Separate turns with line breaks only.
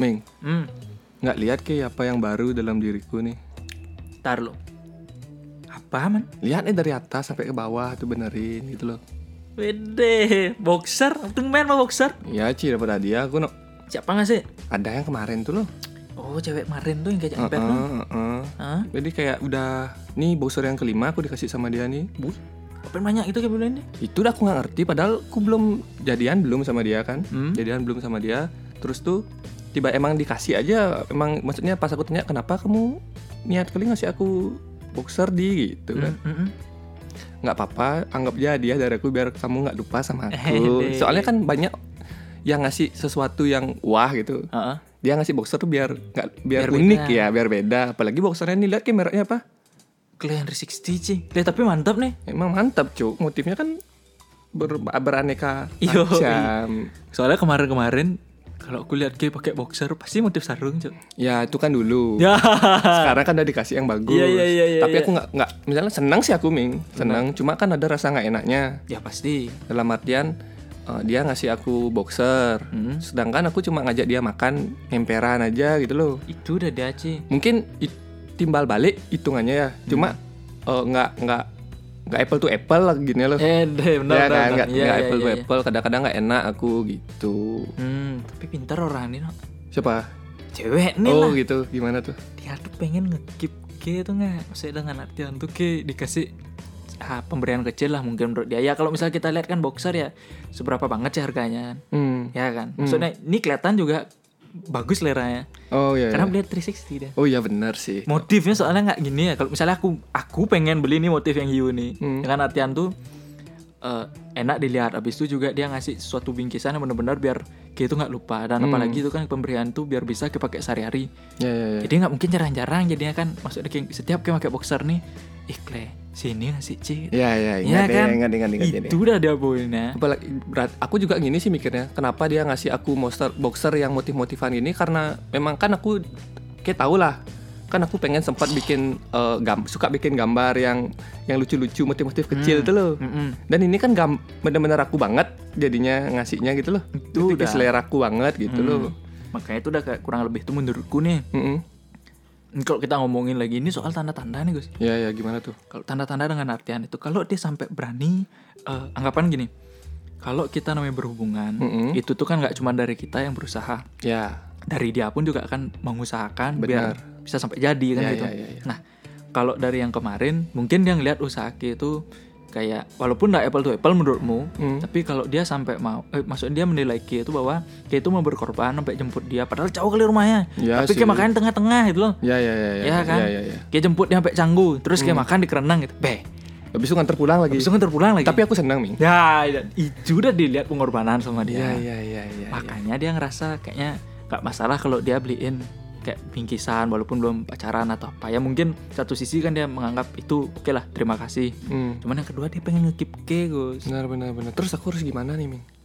Meng,
Hmm,
nggak lihat ke apa yang baru dalam diriku nih?
tar lo. Apa man?
Lihat nih dari atas sampai ke bawah tuh benerin gitu loh.
Wede, boxer, tumben mah boxer.
Ya Ci daripada dia aku no-
Siapa nggak sih?
ada yang kemarin tuh loh.
Oh, cewek kemarin tuh yang kayak ember lo.
Heeh, heeh.
Hah?
Jadi kayak udah nih boxer yang kelima aku dikasih sama dia nih.
Bu, apa yang banyak itu kayak bulan ini?
Itu udah aku nggak ngerti padahal aku belum jadian belum sama dia kan.
Hmm.
Jadian belum sama dia. Terus tuh tiba emang dikasih aja emang maksudnya pas aku tanya kenapa kamu niat kali ngasih aku boxer di gitu kan.
Mm-mm.
nggak apa-apa anggap aja dia dari aku biar kamu nggak lupa sama aku
Hehehe.
soalnya kan banyak yang ngasih sesuatu yang wah gitu
Heeh.
dia ngasih boxer tuh biar nggak biar,
Biar
unik
beda.
ya biar beda apalagi boxernya nih lihat kameranya apa
Kalian 360 sih. Lihat tapi mantap nih.
emang mantap cuk motifnya kan ber- beraneka
Yo,
macam
Soalnya kemarin-kemarin kalau aku lihat dia pakai boxer pasti motif sarung, Cuk.
ya itu kan dulu
Ya.
sekarang kan udah dikasih yang bagus
Iya, iya, iya, iya,
tapi
iya.
aku nggak nggak misalnya senang sih aku ming senang cuma kan ada rasa nggak enaknya
Ya pasti.
dalam artian eh, dia ngasih aku boxer
Hmm.
sedangkan aku cuma ngajak dia makan emperan aja gitu loh
Itu udah daci.
mungkin i- timbal balik hitungannya ya
Hmm.
cuma eh, nggak nggak nggak apple to apple lah gini loh
Eh, deh,
ya
benar benar,
kan
benar.
nggak
Iya,
nggak
iya,
apple to
iya, iya.
apple kadang-kadang nggak enak aku gitu
Hmm, tapi pintar orang ini, no.
siapa
Cewek nih
oh
lah.
gitu gimana tuh
Dia tuh pengen ngekip ke itu nggak? Maksudnya dengan artian tuh ke dikasih ah, pemberian kecil lah mungkin menurut dia. Ya kalau misal kita lihat kan boxer ya seberapa banget sih harganya?
hmm.
Ya kan? Maksudnya ini kelihatan juga bagus leranya.
oh ya
Karena beli 360 dah.
oh ya benar sih
motifnya soalnya nggak gini ya kalau misalnya aku aku pengen beli nih motif yang hiu nih
Hmm.
dengan artian tuh eh, enak dilihat habis itu juga dia ngasih suatu bingkisan yang benar-benar biar kita tuh nggak lupa dan
Hmm.
apalagi itu kan pemberian tuh biar bisa kepake sehari-hari
ya ya ya
jadi nggak mungkin jarang-jarang jadinya kan maksudnya kayak setiap kayak pakai boxer nih ikle sini ngasih c
ya ya
Iya
ingat ya,
kan?
ingat ingat ingat ini.
itu udah dia ya. boinnya
Apalagi berat. Aku juga gini sih mikirnya, kenapa dia ngasih aku monster boxer yang motif-motifan ini karena memang kan aku kayak tau lah kan aku pengen sempat bikin eh, gam- suka bikin gambar yang yang lucu-lucu motif-motif kecil tuh loh.
Mm-mm.
Dan ini kan gam bener-bener aku banget jadinya ngasihnya gitu loh.
Itu
Jadi
udah.
selera aku banget gitu
Hmm.
loh.
makanya itu udah kayak kurang lebih tuh menurutku nih
Mm-mm.
kalau kita ngomongin lagi ini soal tanda-tanda nih Gus
Ya ya gimana tuh?
kalau tanda-tanda dengan artian itu kalau dia sampai berani eh, anggapan gini kalau kita namanya berhubungan
Mm-mm.
itu tuh kan nggak cuma dari kita yang berusaha
Ya.
dari dia pun juga akan mengusahakan
Benar.
biar bisa sampai jadi kan
Ya,
gitu
ya, ya, ya.
nah kalau dari yang kemarin mungkin dia ngelihat usaha Aki itu kayak walaupun nggak apple to apple menurutmu
Mm.
tapi kalau dia sampai mau eh, maksudnya dia menilai Ki itu bahwa Ki itu mau berkorban sampai jemput dia padahal jauh kali rumahnya
Ya sih.
tapi kayak makanya tengah-tengah gitu loh
Ya ya ya ya.
Ya, kan?
Ya ya Hmm. ya.
Ki jemput dia sampai canggu terus kayak makan di kerenang gitu beh
Habis itu nganter pulang lagi.
Habis itu kan terpulang lagi.
Tapi aku senang, Ming.
ya, ya, itu udah dilihat pengorbanan sama
Ya ya
dia.
ya ya. ya.
Makanya dia ngerasa kayaknya nggak masalah kalau dia beliin kayak bingkisan walaupun belum pacaran atau apa. Ya mungkin satu sisi kan dia menganggap itu oke lah terima kasih.
Mm.
Cuman yang kedua dia pengen ngekip ke Gus.
Benar benar benar. Terus aku harus gimana nih, Ming?